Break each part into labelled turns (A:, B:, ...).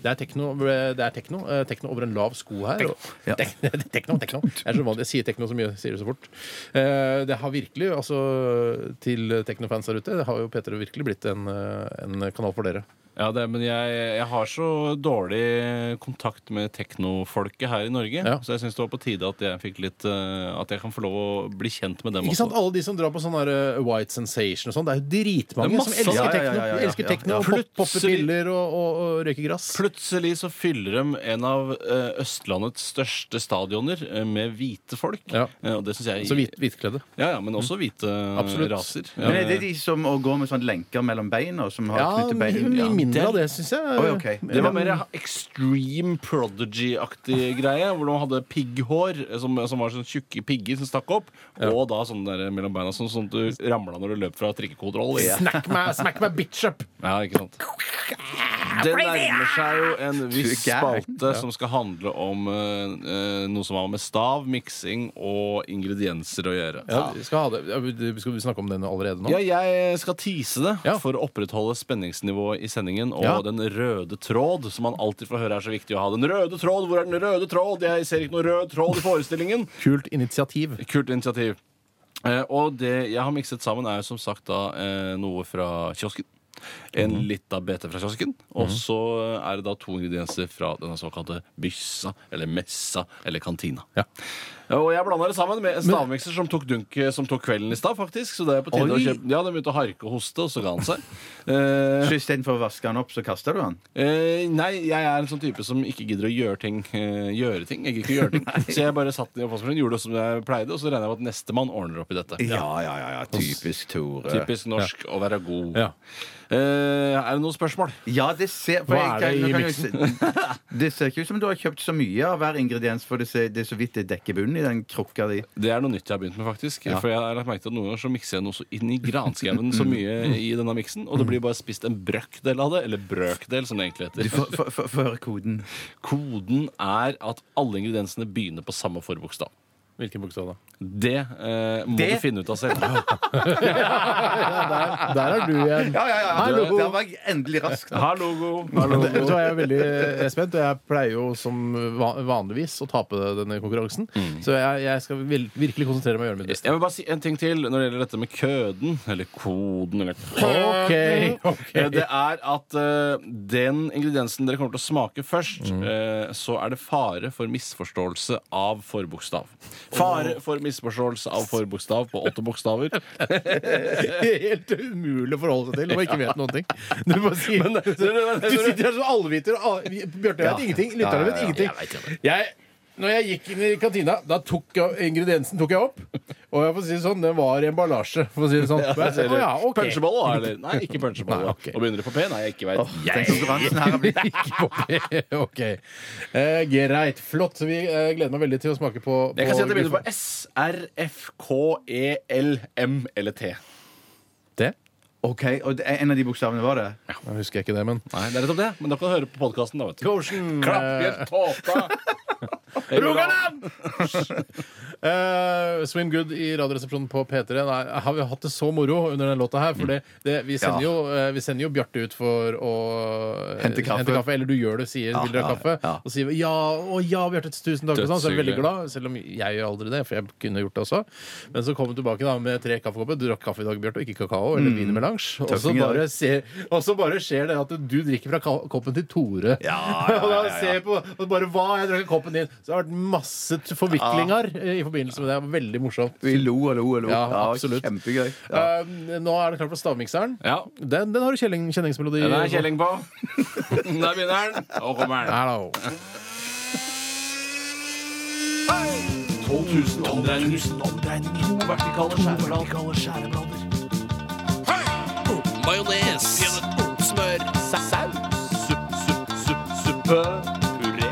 A: Det er tekno, det er tekno, eh, tekno over en lav sko her. og-
B: Ja.
A: Tek- Tekno, tekno. Jeg, er så vanlig, jeg sier tekno så mye, sier det så fort. Eh, Det har virkelig, altså til teknofans der ute, det har jo Peter virkelig blitt en, eh, en kanal for dere.
C: Ja, det, er- men jeg, jeg har så dårlig kontakt med teknofolket her i Norge,
A: Ja.
C: så jeg syns det var på tide at jeg fikk litt eh, At jeg kan få lov å bli kjent med dem
A: Ikke sant?
C: også.
A: Alle de som drar på sånn der, eh, White Sensation og sånn, det er jo
C: Det
A: dritmange
C: er
A: som
C: masse.
A: elsker
B: Ja, ja,
A: tekno.
B: ja, ja, ja,
A: De elsker
B: ja.
A: tekno og
C: Plutselig-
A: pop- popper piller og, og, og røyker grass.
C: Plutselig så fyller de en av eh, Østlandets største stadioner eh, med hvite folk.
A: Ja.
C: Eh, og det synes jeg
A: Så hvit, hvitkledde.
C: Ja, ja, men også hvite
A: Absolutt.
C: raser. Ja.
B: Men er det de som å gå med sånn lenker mellom beina? Som har
A: Ja,
B: knyttet bein? Ja.
A: mindre av det, syns jeg.
B: Oi, ok.
C: Det var mer extreme prodigy-aktig greie, hvor de hadde pigghår eh, som, som var sånn tjukke pigger som stakk opp, og da sånn der mellom beina, sånn sånn at du ramla når du løp fra trikkekontroll. Ja.
A: Smack meg, smack meg bitch up!
C: ikke sant. Det nærmer seg jo en viss
B: Du er gæren.
C: spalte som skal handle om eh, eh, noe som har med stav, miksing og ingredienser å gjøre.
A: Ja, vi skal, ha det. Ja, vi- Skal vi snakke om den allerede nå?
C: Ja, jeg skal tease det
A: Ja.
C: for å opprettholde spenningsnivået i sendingen. Og
A: Ja.
C: den røde tråd, som man alltid får høre er så viktig å ha. Den røde tråd, Hvor er den røde tråd? Jeg ser ikke noen rød tråd i forestillingen.
A: Kult initiativ.
C: Kult initiativ. Eh, og det jeg har mikset sammen, er jo som sagt da eh, noe fra kiosken. En
A: Mhm.
C: lita bete fra kiosken. Og så er det da to ingredienser fra denne såkalte byssa, eller messa, eller kantina. Eh,
A: Ja.
C: Og jeg blanda det sammen med en stavmikser som tok dunket som tok kvelden i stad, faktisk. Så det er på tide å
A: Oi.
C: kjøpe Ja, den begynte å harke og hoste, og så ga han seg. Eh,
B: Så istedenfor å vaske den opp, så kaster du den?
C: eh, nei, jeg er en sånn type som ikke gidder å gjøre ting. eh, gjøre ting. Jeg gidder ikke å gjøre ting. så jeg bare satt i oppvaskmaskinen, gjorde det som jeg pleide, og så regner jeg med at nestemann ordner opp i dette.
B: Ja, ja, ja. ja. Typisk Tore.
C: Typisk norsk å være god.
A: Ja.
C: Eh, er det noen spørsmål?
B: Ja, det ser for
A: Hva er
B: jeg
A: det
B: kan-
A: i
B: nå kan jeg jo se- Det ser ikke ut som du har kjøpt så mye av hver ingrediens, for det, ser, det er så vidt det dekker bunnen i den krukka di.
C: Det er noe nytt jeg har begynt med, faktisk. For jeg har lagt merke til at Noen ganger så mikser jeg noe så inn i granskauen så mye i denne miksen, og det blir bare spist en brøkdel av det. Eller brøkdel, som det egentlig heter.
B: Du får får- får- får høre koden.
C: Koden er at alle ingrediensene begynner på samme forbokstav.
A: Hvilken bokstav, da?
C: Det eh, må
B: Det?
C: du finne ut av selv.
A: Der, der er du igjen.
B: Ja, ja, ja.
A: Hallo.
B: Der var jeg endelig rask. da.
C: Ha logo!
A: Vet du hva, Jeg er veldig jeg er spent, og jeg pleier jo som va- vanligvis å tape denne konkurransen. Så jeg, jeg skal vil- virkelig konsentrere meg og gjøre mitt beste.
C: Jeg vil bare si en ting til når det gjelder dette med køden, eller koden, eller
A: Ok, ok.
C: Eh, Det er at eh, den ingrediensen dere kommer til å smake først,
A: Mm.
C: eh, så er det fare for misforståelse av forbokstav. Fare for misforståelse av forbokstav på åtte bokstaver.
A: Helt umulig å forholde seg til når man ikke vet noen ting. Du, bare sier,
C: Men-
A: du sitter her som allviter. og all- Bjarte vet ingenting. Lytterne vet ingenting. Jeg, når jeg gikk inn i kantina, da tok jeg ingrediensen tok jeg opp. Og jeg får si det sånn, den var i emballasje. For å si det sånn. Ja, ja, ok.
C: Punchebolle, da? Eller? Nei, ikke punchebolle.
A: Nei, ok.
C: Og begynner det på P? Nei, jeg ikke veit.
B: Den konkurransen her har blitt
A: ok. Eh, greit. Flott. Vi eh, gleder meg veldig til å smake på, på
C: Jeg kan si at det begynner på S, R, F, K, E, L, M eller T.
A: Det?
B: OK, og det, en av de bokstavene var det?
A: Jeg husker ikke det, men
C: Nei, det er nettopp det. Men da kan du høre på podkasten, da, vet du.
A: Goshen.
C: Klapp i et tåta!
A: Rogaland! Eh, Swim Good i Radioresepsjonen på P3. Nei, har vi hatt det så moro under den låta her? For det, det, vi, sender
B: Mm. Ja.
A: jo, eh, vi sender jo Bjarte ut for å eh,
B: Hente kaffe.
A: Eller du gjør det, sier
B: Ja,
A: vil dere ha
B: ja,
A: kaffe?
B: ja.
A: Og sier vi, ja, å ja, Bjarte, tusen takk. og Sånn, så er jeg veldig
C: Dødshyggelig.
A: glad, selv om jeg gjør aldri det, for jeg kunne gjort det også. Men så kom hun tilbake da med tre kaffekopper. Du drakk kaffe i dag, Bjarte, og ikke kakao eller wienermelange. Og så
B: Tøffing Mm. i dag.
A: bare, ser- og så bare skjer det at du drikker fra ka- koppen til Tore. Og da ser jeg på og bare hva jeg drakk i koppen din. Så det har vært masse t- forviklinger eh, i forbindelse med det. Det var Veldig morsomt.
B: Vi lo og lo og lo.
A: Ja, absolutt.
B: Kjempegøy. Ja.
A: Eh, nå er det klart for stavmikseren.
C: Ja.
A: Den, den har du kjelling, kjenningsmelodi
C: Den er kjelling på. Der begynner den. Og kommer den.
A: Hello.
C: 12 000 omdreininger. To vertikale skjæreblader. Majones. Smør. Saus. Supp, supp, supp, suppe. Puré.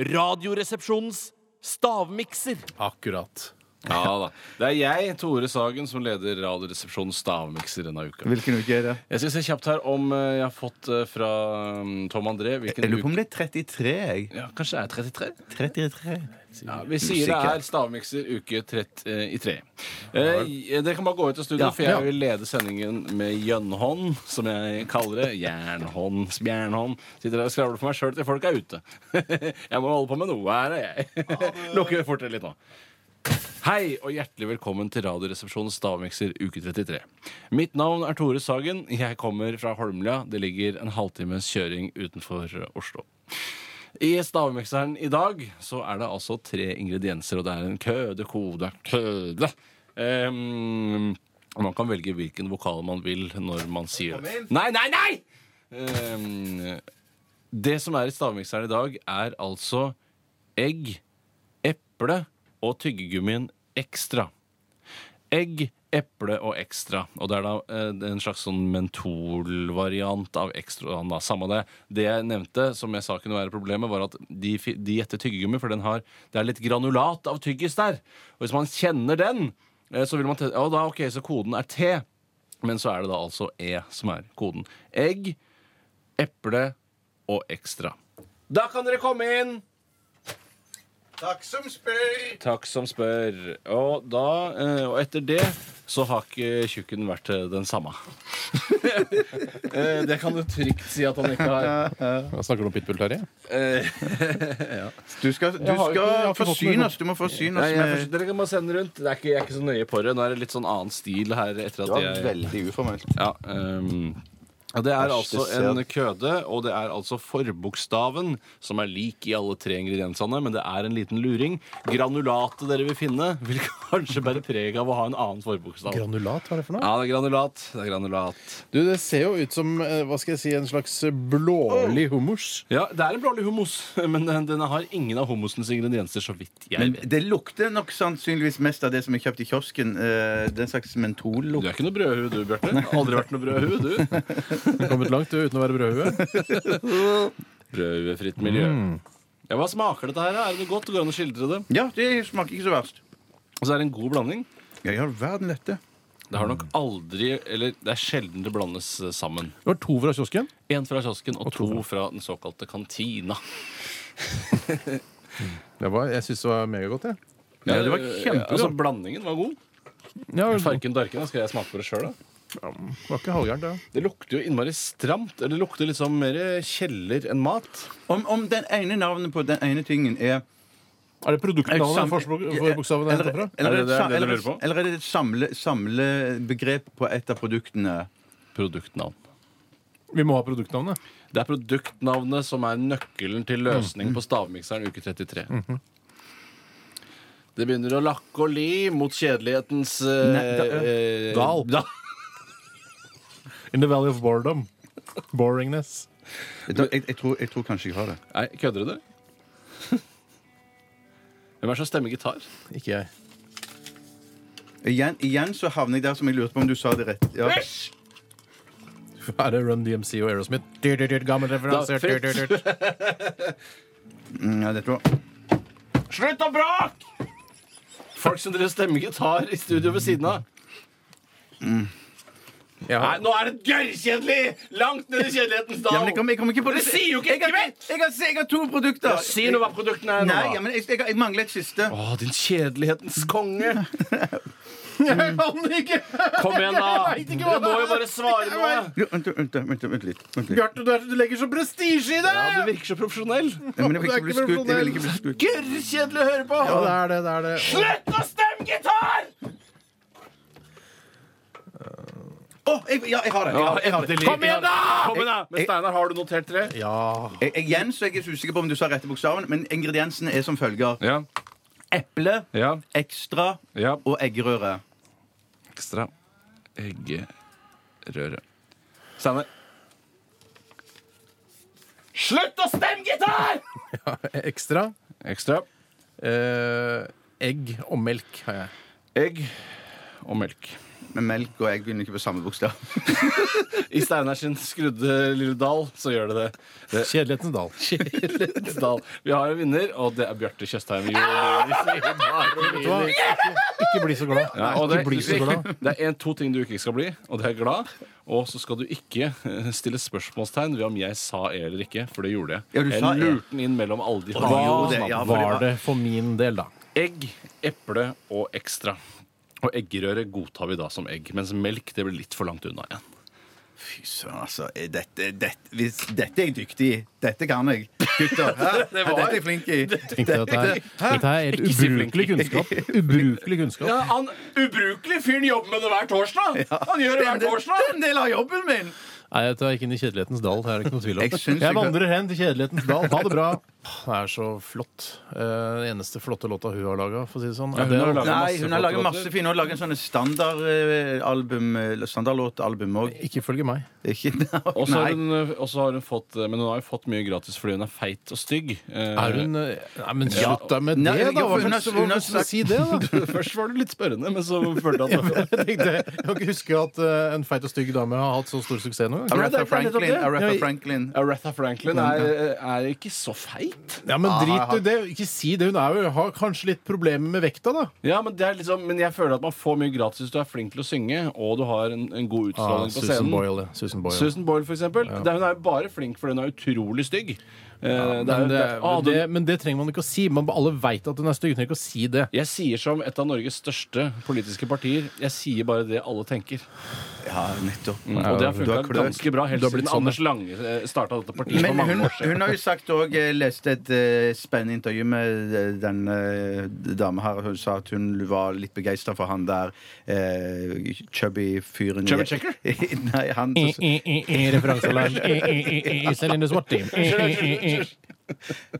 C: Radioresepsjonens stavmikser.
A: Akkurat.
C: Ja da. Det er jeg, Tore Sagen, som leder Radioresepsjonens stavmikser denne uka.
B: Hvilken uke er det?
C: Jeg skal se kjapt her om eh, jeg har fått eh, fra mm, Tom André hvilken
B: Jeg lurer på
C: uke
B: om det er 33, jeg.
C: ja, Kanskje det er 33?
B: 33.
C: Ja, vi sier det
B: Usikker.
C: er stavmikser uke 33. Eh, dere kan bare gå ut av studio,
B: Ja.
C: for jeg
A: Ja.
C: vil lede sendingen med gjønnhånd, som jeg kaller det. Jernhånd, spjernhånd. Sitter der og skravler for meg sjøl til folk er ute. jeg må holde på med noe. Her er jeg. Lukker fortet litt nå. Hei og hjertelig velkommen til Radioresepsjonens stavmikser uke 33. Mitt navn er Tore Sagen. Jeg kommer fra Holmlia. Det ligger en halvtimes kjøring utenfor Oslo. I stavmikseren i dag så er det altså tre ingredienser, og det er en køde, kode, køde. Ehm, og man kan velge hvilken vokal man vil når man sier det. Nei, nei, nei! Ehm, det som er i stavmikseren i dag, er altså egg, eple og tyggegummien ekstra. Egg, eple og ekstra. Og det er da eh, det er en slags sånn mentolvariant av ekstra. Da. Samme det. Det jeg nevnte, som jeg sa kunne være problemet, var at de, fi- de gjetter tyggegummi, for den har, det er litt granulat av tyggis der. Og hvis man kjenner den, eh, så vil man tenke Ja, da OK, så koden er T. Men så er det da altså E som er koden. Egg, eple og ekstra. Da kan dere komme inn!
B: Takk som spør.
C: Takk som spør. Og, da, eh, og etter det så har ikke tjukken vært eh, den samme. Eh, det kan du trygt si at han ikke har.
A: Jeg snakker du om pitbull, Terje?
C: Eh,
B: Du skal, du
A: Jeg har ikke- jeg har
B: skal
A: ikke fått
B: forsyne
A: noe.
B: oss. Du må forsyne
C: nei,
B: oss
C: jeg, forstår-
B: med
C: dere kan bare sende rundt. Det er ikke, jeg er ikke så nøye på det. Nå er det litt sånn annen stil her. Etter at jeg,
B: veldig uformelt.
C: ja, ehm, ja, det er altså en køde, og det er altså forbokstaven, som er lik i alle tre ingrediensene, men det er en liten luring. Granulatet dere vil finne, vil kanskje bære preg av å ha en annen forbokstav.
A: Granulat, hva er det for
C: Ja, det er granulat. Det er granulat.
A: Du, Det ser jo ut som eh, hva skal jeg si, en slags eh, blålig hummus.
C: Ja, det er en blålig hummus, men den, den har ingen av hummusens ingredienser, så vidt jeg
B: Men
C: vet.
B: det lukter nok sannsynligvis mest av det som er kjøpt i kiosken. eh, Den slags
C: Du
B: mentollukt.
C: er ikke noe brødhue, du, Bjarte. Aldri vært noe brødhue, du.
A: Du har kommet langt du, uten å være brødhue.
C: Brødhuefritt miljø. Ja, Hva smaker dette her? da? Er det noe godt? Går det an å skildre det?
B: Ja, det smaker ikke så verst.
C: Og så er Altså, det en god blanding.
B: Ja, i all verden dette.
C: Det har nok aldri, eller det er sjelden det blandes eh, sammen.
A: Det var to fra kiosken.
C: Én fra kiosken og to fra den såkalte kantina.
A: Det var, jeg syns det var megagodt, jeg.
B: Ja, det var
C: Altså,
B: kjempegodt.
C: blandingen var god.
A: Ja, det var
C: Farken darken, da skal jeg smake på det sjøl, da.
A: ikke halvgærent, det.
C: Det lukter jo innmari stramt. Eller det lukter liksom mer kjeller enn mat.
B: Om, om den ene navnet på den ene tingen er
A: Er det produktnavnet
B: Sam-
A: forbokstaven det heter fra?
B: Eller
C: Er det det-
B: sa-
C: det du
B: eller-
C: lurer på?
B: eller er det et samle- samlebegrep på et av produktene?
C: Produktnavn.
A: Vi må ha produktnavnet.
C: Det er produktnavnet som er nøkkelen til løsning
B: Mm,
C: på stavmikseren uke 33.
B: Mhm.
C: Det begynner å lakke og li mot kjedelighetens eh,
B: Nei, da-
C: eh,
A: Dal.
C: da-
A: In the valley of boredom. Boringness.
B: Jeg, jeg, jeg, tror, jeg tror kanskje jeg har det.
C: Nei, kødder du, dere? Hvem er det som stemmer gitar?
A: Ikke jeg.
B: Igjen, igjen så havner jeg der som jeg lurte på om du sa det rett. Ja.
A: Er det Run DMC og Aerosmith? Dyr, dyr, dyr, gammel referanse.
C: Da,
A: dyr,
C: Fritz.
A: dyr, dyr.
B: Mm, ja, det tror
C: Slutt å bråke! Folk som driver og stemmer gitar i studio ved siden av. Nei,
A: Ja.
C: nå er det gørrkjedelig! Langt ned i kjedelighetens dal.
B: Ja, men jeg kommer, jeg kommer ikke på det.
C: Dere sier jo ikke
B: Jeg har-
C: kvett!
B: Jeg har, jeg har to produkter.
C: Ja, si noe hva produktene er nå,
B: Nei,
C: da.
B: ja, men jeg, jeg, jeg mangler et siste.
C: Å, din kjedelighetens konge.
A: Jeg kan ikke!
C: Kom igjen, da.
A: Jeg vet
C: Du
A: ikke hva
C: må jo
A: det er.
C: bare svare nå.
B: Jo, Vent, vent, vent, vent litt. Vent litt.
A: Bjarte, du, er- du legger så prestisje i det!
C: Ja, du virker så profesjonell.
B: Ja, men jeg vil
A: Det er
B: ikke bli
A: ikke
B: skutt. Jeg vil ikke bli skutt.
C: Gørrkjedelig å høre på!
A: Ja, det er det. det, er det.
C: Slutt å stemme gitar!
B: Å, jeg, ja, jeg har det. Jeg, har det, jeg, har det.
C: Kom igjen, da! Kom igjen da! Men
B: Jeg-
C: Steinar, har du notert tre?
A: Ja.
B: Jeg, igjen så er jeg ikke så usikker på om du sa rette bokstaven, men ingrediensene er som følger.
C: Ja.
B: Eple,
C: Ja.
B: ekstra
C: ja.
B: og eggerøre.
C: Ekstra eggerøre. Steinar. Slutt å stemme gitar!
A: Ekstra
C: Ekstra
A: eh, egg og melk har jeg.
C: egg og melk.
B: Men melk og egg begynner ikke på samme bokstav.
C: I Steinar sin skrudde lille dal, så gjør det det. det
A: Kjedelighetens dal.
C: Dal. Vi har en vinner, og det er Bjarte Tjøstheim. Ja,
A: Ikke bli så glad.
C: og det,
A: Ikke bli så glad.
C: det er en, to ting du ikke skal bli, og det er glad. Og så skal du ikke eh, stille spørsmålstegn ved om jeg sa E eller ikke, for det gjorde jeg.
B: Ja, du
C: jeg
B: sa E.
C: lurte den inn mellom alle de
B: Hva
C: gjorde det,
B: ja, for det
A: Var
B: var-
A: det for min del, da?
C: Egg, eple og ekstra. Og eggerøre godtar vi da som egg, mens melk det blir litt for langt unna igjen.
B: Fy søren, altså. er Dette, dette, hvis, dette er jeg dyktig i. Dette kan jeg. Gutter. Hæ?
C: Det var-
B: Dette er jeg flink i.
A: Tenkte jeg at det er, dette er helt
C: Ikke si flink.
A: ubrukelig kunnskap. Ubrukelig kunnskap.
C: han ubrukelig fyren jobber med det hver torsdag! Han gjør
B: Det er en del- det er en del av jobben min!
A: Nei, jeg tar ikke inn i kjedelighetens dal. Det er det ikke noe tvil om.
B: Jeg syns
A: Jeg,
B: ikke-
A: vandrer hen til kjedelighetens dal. Ha det bra. Det er så flott. Eh, Den eneste flotte låta hun har laga, for å si det sånn.
C: Ja, hun
A: det,
C: har laget-
B: Nei, hun har laget
C: flotte
B: masse fine. Hun har laget sånn sånne standardalbum, standardlåtalbum òg.
A: ikke følge meg.
B: Ikke
C: Og så har,
B: Nei.
C: hun, eh, og så har hun fått eh, Men hun har jo fått mye gratis fordi hun er feit og stygg. Eh,
A: Er hun eh, Nei, men
C: Ja.
A: slutt da med
B: Nei,
A: det, da!
B: ja, for
A: Hva
B: hun har-
A: slags hva
B: hun har
A: slags-
B: sagt-
A: Si det, da!
C: Først var du litt spørrende, men så følte jeg at
A: Jeg tenkte, jeg kan ikke huske at eh, en feit og stygg dame har hatt så stor suksess noen gang.
C: det er
B: Aretha
C: ikke nettopp
B: Franklin.
C: det.
B: Aretha
A: Ja, i-
B: Franklin.
C: Aretha Franklin er, er ikke så feit.
A: Ja, men drit
B: Ah,
A: i det. Ikke si det. Hun er jo, har kanskje litt problemer med vekta, da.
C: Ja, men, det er liksom, men jeg føler at man får mye gratis hvis du er flink til å synge og du har en, en god utstråling på
A: Ah, Susan
C: scenen.
A: Boyle. ja. Susan Boyle.
C: Susan Boyle, for eksempel. Det, hun er jo bare flink fordi hun er utrolig stygg. Eh, det er,
A: Men, det,
C: det, er- ah,
A: det,
C: du-
A: men det trenger man ikke å si. Man, alle veit at hun er stygg. Hun trenger ikke å si det.
C: jeg sier som et av Norges største politiske partier. Jeg sier bare det alle tenker.
B: Ja, nettopp.
C: Og det har
B: du har
C: funka
B: kløkt.
C: ganske bra helt
A: Du har blitt sånn,
C: siden Anders Lange starta dette partiet
B: Men
C: for mange
B: hun,
C: år siden.
B: hun har jo sagt òg Jeg leste et eh, spennende intervju med eh, denne dama her. Hun sa at hun var litt begeistra for han der eh, chubby fyren
C: Chubby Checker?
B: Nei, han
A: Referansealarm. Celine Swatti.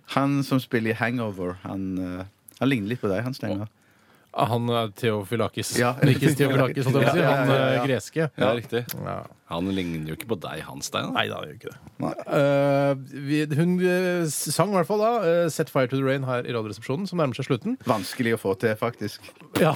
B: Han som spiller i Hangover, han, eh, han ligner litt på deg, han Steinar.
A: Ah, Han er Theofilakis.
B: Ja.
A: Nikis Theofilakis, holdt jeg på å si.
B: Ja, ja,
A: Han
B: ja, ja.
A: eh, greske.
C: Ja, riktig.
A: Ja.
C: Han ligner jo ikke på deg, han, Steinar.
A: Nei da, det gjør ikke det.
B: Nei.
A: Eh, vi, hun eh, sang i hvert fall da eh, 'Set Fire to the Rain' her i Radioresepsjonen, som nærmer seg slutten.
B: Vanskelig å få til, faktisk.
A: Ja,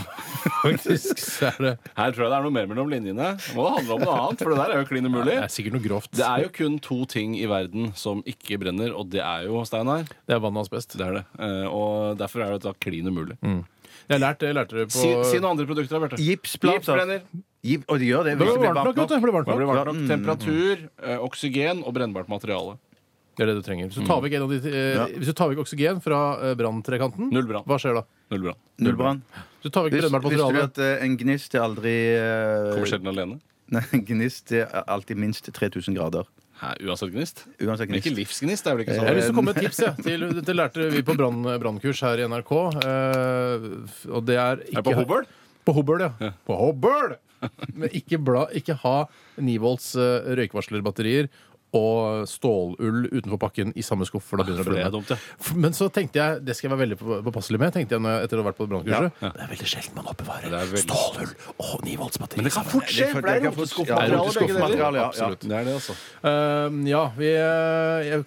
A: faktisk så er det
C: Her tror jeg det er noe mer mellom linjene. Det må handle om noe annet, for det der er jo klin umulig.
A: Det er sikkert noe grovt.
C: Det er jo kun to ting i verden som ikke brenner, og det er jo Steinar.
A: Det er vann og asbest.
C: Det er det. Eh, Og derfor er det da klin umulig.
A: Mm. Jeg lærte, jeg lærte det på
C: Si, si noen andre produkter, da, Bjarte. Gips
B: Gipsplater.
C: brenner.
B: Gip, og de gjør det.
A: Det
B: hvis
A: ble varmt nok, vet du. Det ble varmt
C: Det blir
A: nok. Mm.
C: varmt nok. Temperatur, eh, oksygen og brennbart materiale.
A: Det er det du trenger. Hvis du tar vekk, en av de, eh,
B: Ja.
A: hvis du tar vekk oksygen fra eh, branntrekanten,
C: Null brann.
A: hva skjer da?
C: Null brann.
B: Null brann.
A: Hvis du tar vekk
B: Vis-
A: brennbart
B: Visste du
A: materiale
B: at eh, en gnist er aldri eh,
C: Kommer sjelden alene.
B: Nei, en gnist er alltid minst 3000 grader.
C: Hæ, uansett gnist?
B: Uansett
C: Men
B: gnist.
C: ikke livsgnist, det er vel ikke
A: Eh, Jeg har
C: sånn?
A: lyst til å komme med et tips. Jeg. Til, dette lærte vi på brann- brannkurs her i NRK. eh, og det er ikke
C: Er det på Hobøl?
A: På Hobøl, ja. På Hobøl! Men ikke, bla, ikke ha 9 volts eh, røykvarslerbatterier og stålull utenfor pakken i samme skuff, for da begynner
C: For det
A: det
C: er
A: å brenne.
C: dumt, ja.
A: F- Men så tenkte jeg, det skal jeg være veldig på- påpasselig med, tenkte jeg når jeg, etter å ha vært på brannkurset. Det er veldig sjelden man oppbevarer
C: Det er veldig-
A: stålull og 9 volts batterier.
C: Men det kan fort skje! for Det er
B: Ja,
C: roteskuffmateriale, begge deler.
B: roteskuffmateriale, ja, ja.
A: Absolutt.
C: Det er det, altså.
A: Eh, ja, vi, eh, jeg,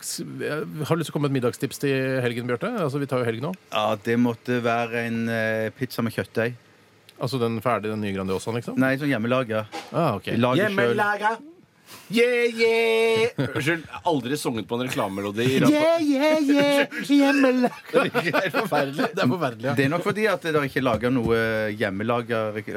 A: jeg har lyst til å komme med et middagstips til helgen, Bjarte. Altså, vi tar jo helg nå.
B: Ja, det måtte være en eh, pizza med kjøttdeig.
A: Altså den ferdige, den nye Grandiosaen, liksom?
B: Nei, sånn hjemmelaga.
A: Ah, ok.
B: Lager sjøl.
C: Hjemmelaga. Yeah, yeah! Unnskyld, jeg har aldri sunget på en reklamelodi. i radio.
A: yeah, yeah, hjemmelaga. Det er forferdelig. Det er forferdelig, ja.
B: Det er nok fordi at dere ikke lager noe eh, hjemmelaga rek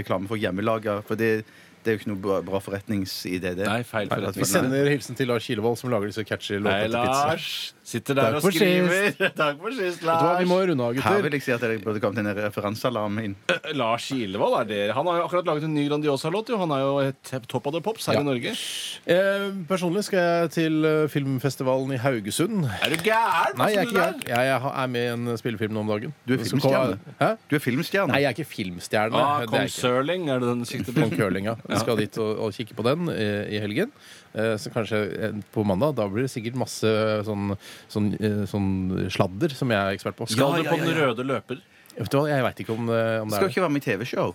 B: reklame for hjemmelaga. For det, det er jo ikke noe bra- bra forretningsidé, det.
C: Nei, feil
B: Nei,
C: forretning.
A: Vi sender hilsen til Lars Kilevold, som lager disse catchy
C: Hei,
A: låtene til pizza.
C: Lars. Sitter der
A: Takk
C: og
A: for
C: skriver. Takk for sist,
A: Vet du hva, vi
C: Lars.
A: må runde av,
B: Her
A: gutter.
B: vil jeg si at dere burde kommet en referansealarm inn.
C: Lars Kilevold er der. Han har jo akkurat laget en ny Grandiosa-låt. jo. Han er jo et topp av the pops her
A: Ja.
C: i Norge.
A: Eh, personlig skal jeg til eh, filmfestivalen i Haugesund.
C: Er du gæren?
A: Nei, jeg er ikke gæren. Jeg, jeg har- er med i en spillefilm nå om dagen.
B: Du er
A: Som
B: filmstjerne.
A: kom- Hæ?
B: Du er filmstjerne.
A: Nei, jeg er ikke filmstjerne.
C: Ah,
A: Det er
C: Kong
A: jeg ikke.
C: Sørling, er det den du sikter på?
A: Kong Curling, ja. Jeg skal dit og, og kikke på den eh, i helgen. Eh, så kanskje eh, på mandag. Da blir det sikkert masse sånn, sånn, eh, sånn sladder som jeg er ekspert på.
C: Skal du
B: ja,
C: på
B: ja,
C: den
B: ja.
C: røde løper?
A: Vet du hva, jeg veit ikke om, eh, om det
B: Skal
A: er det.
B: ikke være med i TV-show.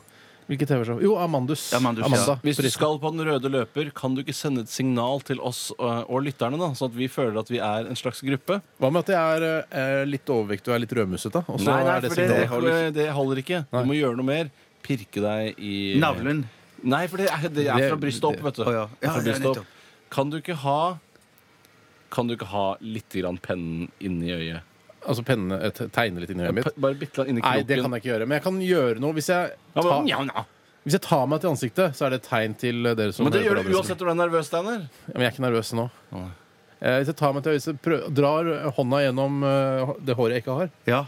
A: Hvilket TV-show? Jo, Amandus.
B: Amandus, ja.
A: Amanda.
C: Hvis du
A: Frisk.
C: skal på den røde løper, kan du ikke sende et signal til oss øh, og lytterne, da, sånn at vi føler at vi er en slags gruppe?
A: Hva med at jeg er eh, litt overvektig og er litt rødmusete? Og så
C: nei, nei,
A: er det
C: for det,
A: signalet.
C: det, det holder ikke. Du må gjøre noe mer. pirke deg i
B: Navlen.
C: Nei, for det er, det er fra
A: Det-
C: brystet opp, vet du.
B: Å, ja.
C: Det er
B: Ja, ja,
C: fra brystet
B: nettopp.
C: opp. Kan du ikke ha Kan du ikke ha litt grann pennen inni øyet?
A: Altså penne, et- tegne litt inni øyet mitt?
C: P- Bare bitte litt inni
A: Nei, det kan
C: kroken.
A: jeg ikke gjøre. Men jeg kan gjøre noe. Hvis jeg,
C: Ja, men,
A: tar-
C: ja, ja.
A: hvis jeg tar meg til ansiktet, så er det et tegn til eh, dere som
C: men det
A: hører på
C: gjør du
A: radioen.
C: uansett om du er nervøs, Steinar.
A: Ja, Men jeg er ikke nervøs nå.
C: Nei.
A: Eh, Hvis jeg tar meg til øyet, så prøv, drar hånda gjennom eh, det håret jeg ikke har.
B: Ja.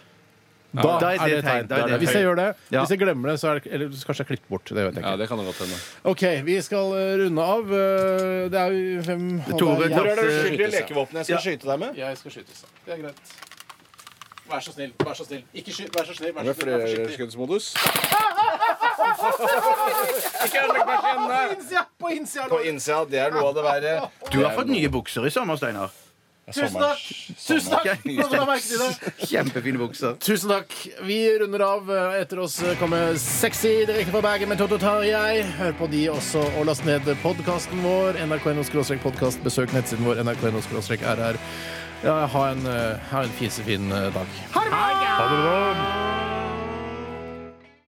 A: Da
B: Da er
A: er det
B: det
A: et tegn.
B: tegn, da er det et
A: Hvis jeg gjør det,
B: Ja.
A: hvis jeg glemmer det, så er det Eller så kanskje jeg klipper bort. Det vet jeg
C: Ja,
A: ikke.
C: det kan det godt hende.
A: OK, vi skal eh, runde av. Eh, Det er jo fem
B: Tore,
A: halv-
B: Hvor er det
A: uskyldige
C: lekevåpenet jeg skal skyte deg med?
A: Jeg skal skytes. Det er greit. Vær så snill, vær så snill. Ikke skyt, vær så snill. Vær så snill. Vær forsiktig. På innsida! På innsida!
C: På innsida, det er noe av det verre.
B: Du har fått nye bukser i sommer, Steinar.
A: Tusen takk! Tusen takk! Nå la merke til det.
B: Kjempefine bukser.
A: Tusen takk. Vi runder av. Etter oss kommer Sexy direkte fra Bergen med Toto Tarjei. Hør på de også, og last ned podkasten vår. nrk.no-podkast. Besøk nettsiden vår nrk.no-rr. Ja, ha en, eh, ha en fisefin eh, dag. Ha det bra!